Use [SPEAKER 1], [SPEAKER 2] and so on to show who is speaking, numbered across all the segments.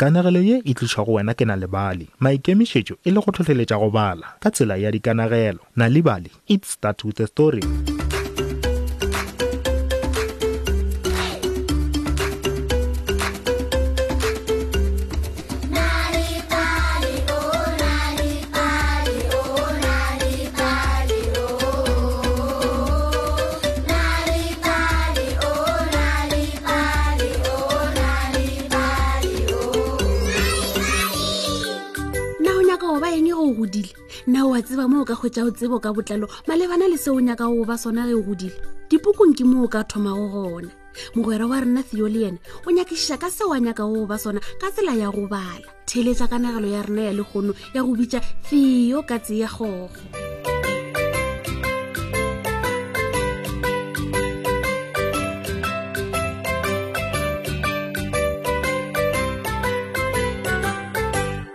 [SPEAKER 1] kanagelo ye e tlišwa go wena ke na lebale maikemišetšo e le go tlhotlheletša go bala ka tsela ya dikanagelo na lebale it start with a story
[SPEAKER 2] na o nyaka go ba eng go o godile na o a tseba mo o ka hwetša o tsebo ka botlalo malebana le seo o nyaka go ba sona ge o godile dipukong ke mo o ka thoma go gona mogwera wa rena theo le yena o nyakišiša ka seo a nyaka go ba sona ka tsela ya go bala theletša kanagelo ya rena ya lekgono ya go bitša theo ka tse ya gogo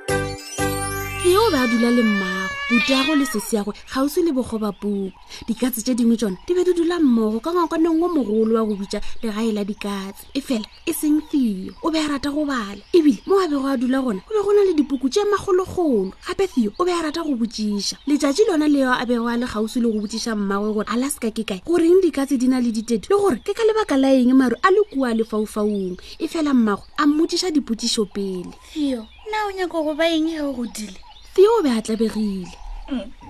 [SPEAKER 2] theo o be a dula le mmago butago le seseagwe kgauswi le bogoba puku dikatse tše dingwe tšona di be di dula mmogo ka ngwakaneng wo mogolo wa go bitša legae la dikatse e fela e seng theo o be a rata go bala ebile mo a bego a dula gona o be go na le dipuku tše magologolo gape theo o be a rata go botšiša letšatši lona leo a bego a le kgauswi le go botšiša mmagwe gore alaska ke kae goreng dikatse di na le ditedi le gore ke ka lebaka la eng maru a le kua lefaufaung e fela mmagwe a mmotšiša dipotšišo pele
[SPEAKER 3] theo na o nyaka go ba eng ge o godile
[SPEAKER 2] theo o be a tlabegile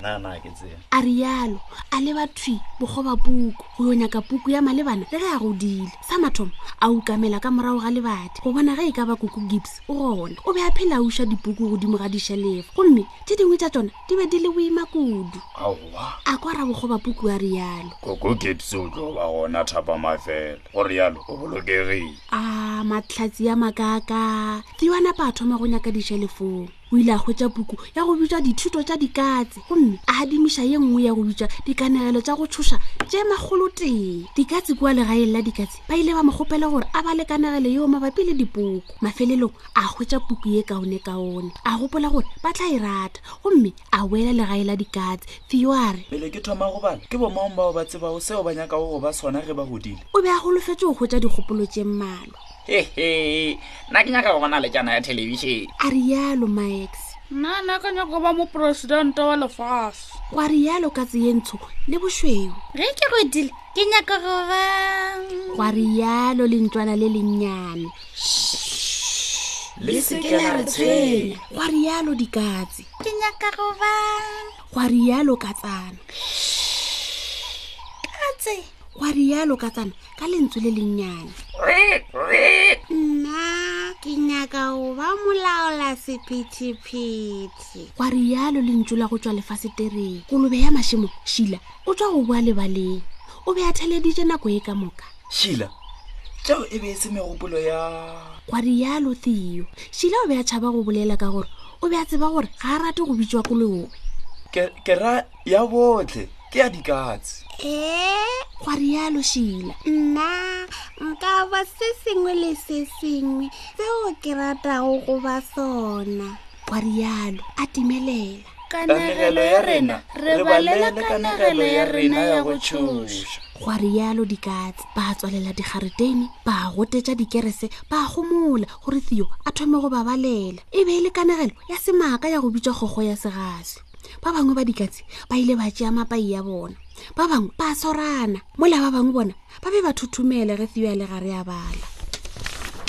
[SPEAKER 4] nana ke tsena
[SPEAKER 2] a rialo a leba thwi bogoba puku go yo nyaka puku ya malebana le ge a godile sa mathomo a ukamela ka morago ga lebati go bona ge e ka ba kuku gips o gona o be a phela a uša dipuku godimo ga dišhelefa gomme tše dingwe tša tsona di be di le boima kudu
[SPEAKER 4] aowa
[SPEAKER 2] a kwa ra bogoba puku a rialo
[SPEAKER 4] koko kepse o tlo ba gona thapa mafela gore yalo o bolokegile
[SPEAKER 2] a matlhatsi ya makaka tiwanapa a thoma go nyaka dišelefong o ile a hwetša puku ya go bitša dithuto tša dikatse gomme a adimiša ye nngwe ya go bitša dikanegelo tša go tšhoša tše magolo teng dikatse kua legaeng la dikatse ba ile ba mo kgopela gore a ba le kanegelo yeo mabapi le dipoko mafelelong a hwetša puku ye kaone kaone a gopola gore ba tla e rata gomme a boela legae la dikatse fio a re
[SPEAKER 5] pele ke thoma go bala ke bomang bao ba tsebago seo ba nyakago go ba sona ge ba godile
[SPEAKER 2] o be a golofetse go hwetša dikgopolo tše mmalwa
[SPEAKER 6] hehe nna ke nyaka go bona letjana ya thelebišene
[SPEAKER 2] a rialo max
[SPEAKER 3] nna nna ka nyaka go ba moporesidente wa lefase
[SPEAKER 2] gwa rialo katse ye ntsho le bošweu
[SPEAKER 3] ge ke godile ke nyaka go ba
[SPEAKER 2] gwa rialo lentlwana le lennyane
[SPEAKER 5] le seke la re tshwenya
[SPEAKER 2] gwa rialo dikatse
[SPEAKER 3] ke nyaka go ba
[SPEAKER 2] gwa rialo katsana
[SPEAKER 3] katse
[SPEAKER 2] gwa rialo katsana ka lentswe le lennyane nna ke nyaka go ba molaola sephithiphithe gwa rialo lentswe la go tswa lefasetereng kolobe ya mašemo šila o tswa go boa lebaleng o be a theleditše nako e ka moka
[SPEAKER 5] šila tšeo e be e se megopolo ya
[SPEAKER 2] gwa rialo theo šila o be a tšhaba go bolela ka gore o be a tseba gore ga a rate go bitšwa kolobe
[SPEAKER 5] Ke- ke ra ya botlhe ke ya dikatse
[SPEAKER 2] ee gwa rialo šila
[SPEAKER 7] nna nka ba se sengwe le se sengwe seo ke ratago go ba sona
[SPEAKER 2] gwa rialo a timelela
[SPEAKER 5] kanegelo ya rena re balela kanegelo ya rena ya go tšhoša
[SPEAKER 2] gwa rialo dikatse ba tswalela dikgaretene ba gotetša dikerese ba gomola gore theo a thome go ba balela e be e le kanagelo ya semaka ya go bitša kgogo ya segase ba bangwe ba dikatse ba ile ba tšea mapai ya bona ba bangwe ba swarana mola ba bangwe bona ba be ba thuthumela ge theo a le gare ya bala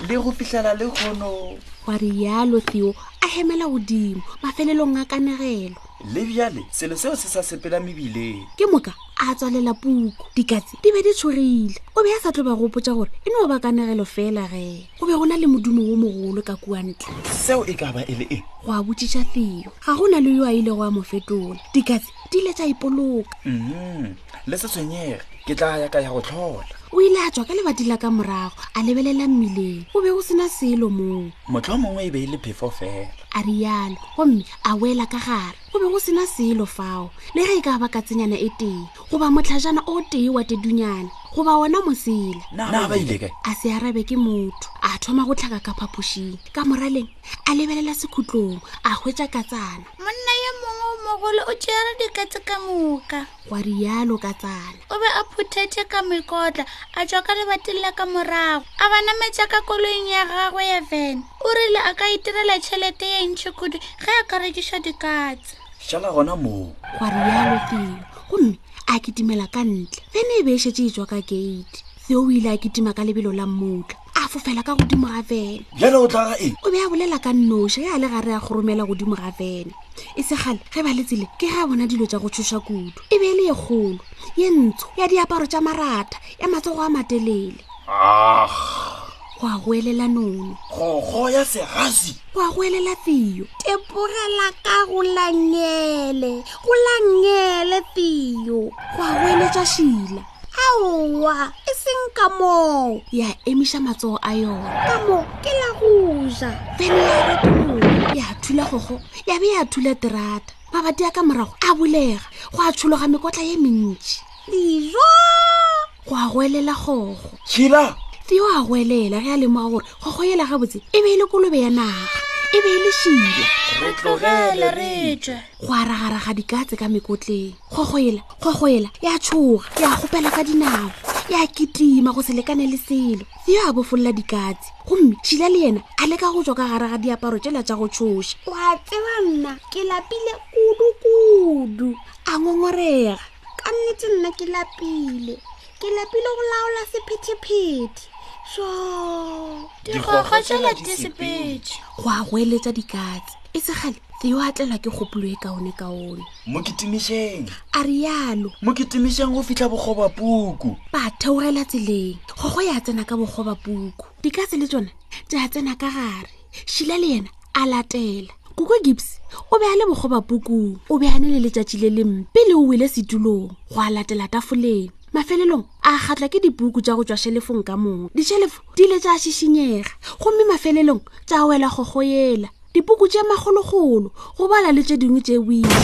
[SPEAKER 5] le go fitlhela le kgono
[SPEAKER 2] gwa rialo theo a hemela godimo mafelelong a kanegelo
[SPEAKER 5] le bjale selo seo se sa sepela mebileng
[SPEAKER 2] ke moka a tswalela puku dikatse di be di tshogile o be a sa tlo ba gopotsa gore e no ba kanegelo fela ge go be go na le modumo wo mogolo ka kuantle
[SPEAKER 5] seo e ka ba e le eng
[SPEAKER 2] go a botsiša theo ga go na le yo a ile go a mo fetola dikatse di ile tša ipoloka
[SPEAKER 6] Mhm.
[SPEAKER 5] mm le se tshwenyege ke tla ya ka ya go tlhola
[SPEAKER 2] o ile a tswa ka lebati la ka morago a lebelela mmileng go be go sena selo moo
[SPEAKER 5] motlho mongwe e be e le phefo fela
[SPEAKER 2] a rialo gomme a wela ka gare go be go sena selo fao le ge e ka ba katsenyana e tee goba motlhajana o tee wa tedunyana goba ona mosela
[SPEAKER 5] na ba ile kae
[SPEAKER 2] a se arabe ke motho a thoma go tlhaka ka phapošing ka moraleng a lebelela sekhutlong a hwetša katsana
[SPEAKER 3] monna yo mongwe o mo
[SPEAKER 5] mogolo o tšere diketse ka moka
[SPEAKER 2] gwa rialo ka tsala
[SPEAKER 5] o be a phuthetše ka mekotla a tswa ka lebating la ka morago a ba nametša ka koloing ya gagwe ya van o rile a ka itirela tšhelete ye ntšhi kudu ge a ka rekiša dikatse
[SPEAKER 6] šala gona moo
[SPEAKER 2] gwa rialo theo gomme a kitimela ka ntle fene e beešetse e tswa ka gate theo o ile a kitima ka lebelo la mmotla a fofela ka godimo ga fene
[SPEAKER 6] bjale o tlaga eng
[SPEAKER 2] o be a bolela ka nnoša ge a le gare a goromela godimo ga fene e segale ge ba letsele ke ge a bona dilo tša go tshoša kudu e be e le e kgolo ye ntsho ya diaparo tša maratha ya matsogo a matelele
[SPEAKER 4] ah
[SPEAKER 2] go a goelela nono
[SPEAKER 6] kgokgo ya segase
[SPEAKER 2] go a goelela theo
[SPEAKER 7] tepogela ka go langele go langele tio
[SPEAKER 2] go a goeletša šila
[SPEAKER 7] aowa e seng ka moo
[SPEAKER 2] ya emiša matsogo a yona
[SPEAKER 7] ka moo ke la go ja
[SPEAKER 2] fene ya retologa ya thula gogo ya be ya thula terata mabati a ka morago a bulega go a tshologa mekotla ye mentši
[SPEAKER 7] dijo
[SPEAKER 2] go a goelela gogo
[SPEAKER 6] tšhila
[SPEAKER 2] theo a goelela ge a lemoga gore gogo yela gabotse e be e le kolobe ya naga e be e le šila
[SPEAKER 5] re tlogele re tswe
[SPEAKER 2] go a ragaraga dikatse ka mekotleng gogoela gogoela ya tshoga ya gopela ka dinao ya kitima go se lekane le selo theo a bofolola dikatse gomme šila le yena a leka go tswa ka gare ga diaparo tšela tša go tshoša
[SPEAKER 7] wa tseba nna ke lapile kudu-kudu
[SPEAKER 2] a ngongorega
[SPEAKER 7] ka nnete nna ke lapile ke lapile go laola sephethephethe so
[SPEAKER 5] dikgokgo tšela di sepetše
[SPEAKER 2] go a goeletsa dikatse e segale theo a tlelwa ke kgopolo e kaone kaone
[SPEAKER 6] mo ketemišeng
[SPEAKER 2] a rialo
[SPEAKER 6] mo ketemišeng go fitlha bokgoba puku
[SPEAKER 2] ba theogela tseleng gogo ya tsena ka bogoba puku dikatse le tsona tša tsena ka gare šila le yena a latela koko gibbs o be a le bogoba pukung o be a ne le letšatši le lempe le o wele setulong go a latela tafoleng mafelelong a kgatlwa ke dipuku tša go tšwa shelefong ka moka dishelefo di ile tša šišinyega gomme mafelelong tša wela gogoela dipuku tše magologolo go bala le tše dingwe tše wile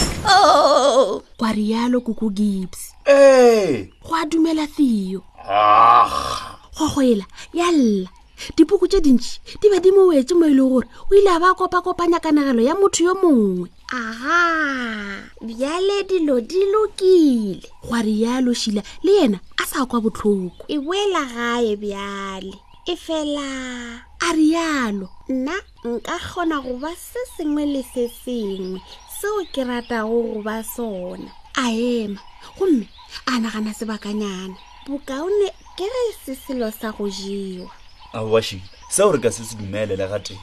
[SPEAKER 2] kwa rialo koko gibbs
[SPEAKER 6] ee
[SPEAKER 2] go a dumela theo
[SPEAKER 4] ah
[SPEAKER 2] gogoela ya lla dipuku tše dintšhi di be di mo wetse mo e leng gore o ile a ba kopakopanya kanagelo ya motho yo mongwe
[SPEAKER 7] aga bjale dilo di lokile
[SPEAKER 2] gwa rialo šila le yena a sa kwa botlhoko
[SPEAKER 7] e boela gae bjale e fela
[SPEAKER 2] a rialo
[SPEAKER 7] nna nka kgona goba se sengwe le se sengwe seo ke ratago goba sona
[SPEAKER 2] a ema gomme a nagana sebakanyana
[SPEAKER 7] bokaone ke ge se selo sa go jewa
[SPEAKER 6] aowašile seo re ka se se dumele le ga teng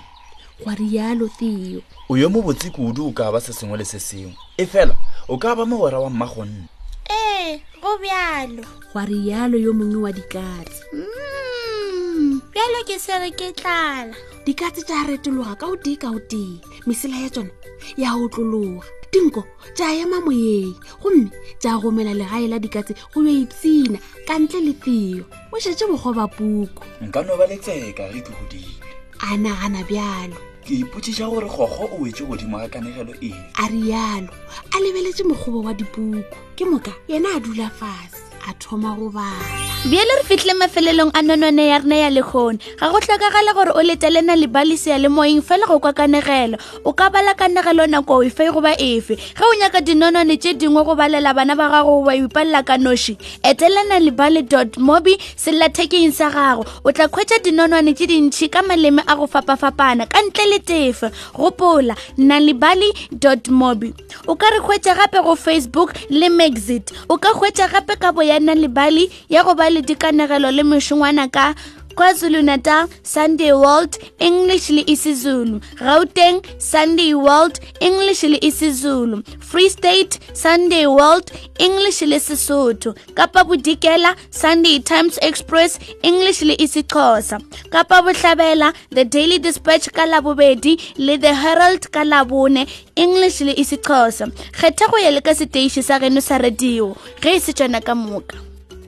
[SPEAKER 2] gwa rialo theo
[SPEAKER 6] o yo mo botse kudu o ka ba se sengwe le se sengwe e fela o ka ba mogwera wa mmagonna
[SPEAKER 5] ee go bjalo
[SPEAKER 2] gwa rialo yo mongwe wa dikatse
[SPEAKER 5] Mm, bjalo ke sere ke tlala
[SPEAKER 2] dikatse tša retologa ka o tee ka o tee mesela ya tsona ya otlologa dinko tša ema moyeng gomme tša romela legae la dikatse go yo ipsina ka ntle le theo o šetse bogoba puku
[SPEAKER 6] nka no ba letseka re ke godile
[SPEAKER 2] a nagana bjalo
[SPEAKER 6] ke ipotsiša gore kgokgo o wetse godimo ga kanegelo eng
[SPEAKER 2] a rialo a lebeletse mokgobo wa dipuku ke moka yena a dula fase a thoma go bala
[SPEAKER 5] bjale re fitlhile mafelelong a nonone ya rena ya lekgone ga go tlhokagala gore o letelena lebalisea le moyeng fela go kwa kanegelo o ka bala kanegelo nako efe goba efe ge o nyaka dinonone tše dingwe go balela bana ba gago ba ipalela ka noši etelena lebale dot mobi sellathekeng sa gago o tla kgwetša dinonone tše dintšhi ka maleme a go fapafapana ka ntle le tefe gopola nalibali dot mobi o ka re hwetša gape go facebook le maxit o ka hwetša gape kabo ya nalibali ya go ba le dikanegelo le mešongwana ka kwazulu-natal sunday world english le isizulu gauteng sunday world english le isizulu free state sunday world english le sesotho kapa bodikela sunday times express english le isixhosa kapa botlhabela the daily dispatch ka labobedi le the herald ka labone english le isixhosa kgetha go ya le ka seteiši sa geno sa radio ge e se tsona ka moka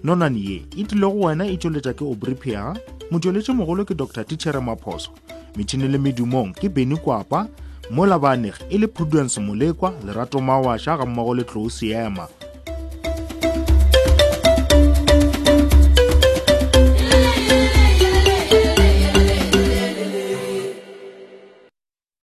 [SPEAKER 1] nonane ye e tlile go wena e tšweletša ke obripia motšweletši mogolo ke dr tichere maphoso metšhini le medumong ke beny kwapa mola baanege e le prudence molekwa lerato mawašha ga mmogo le tlou seema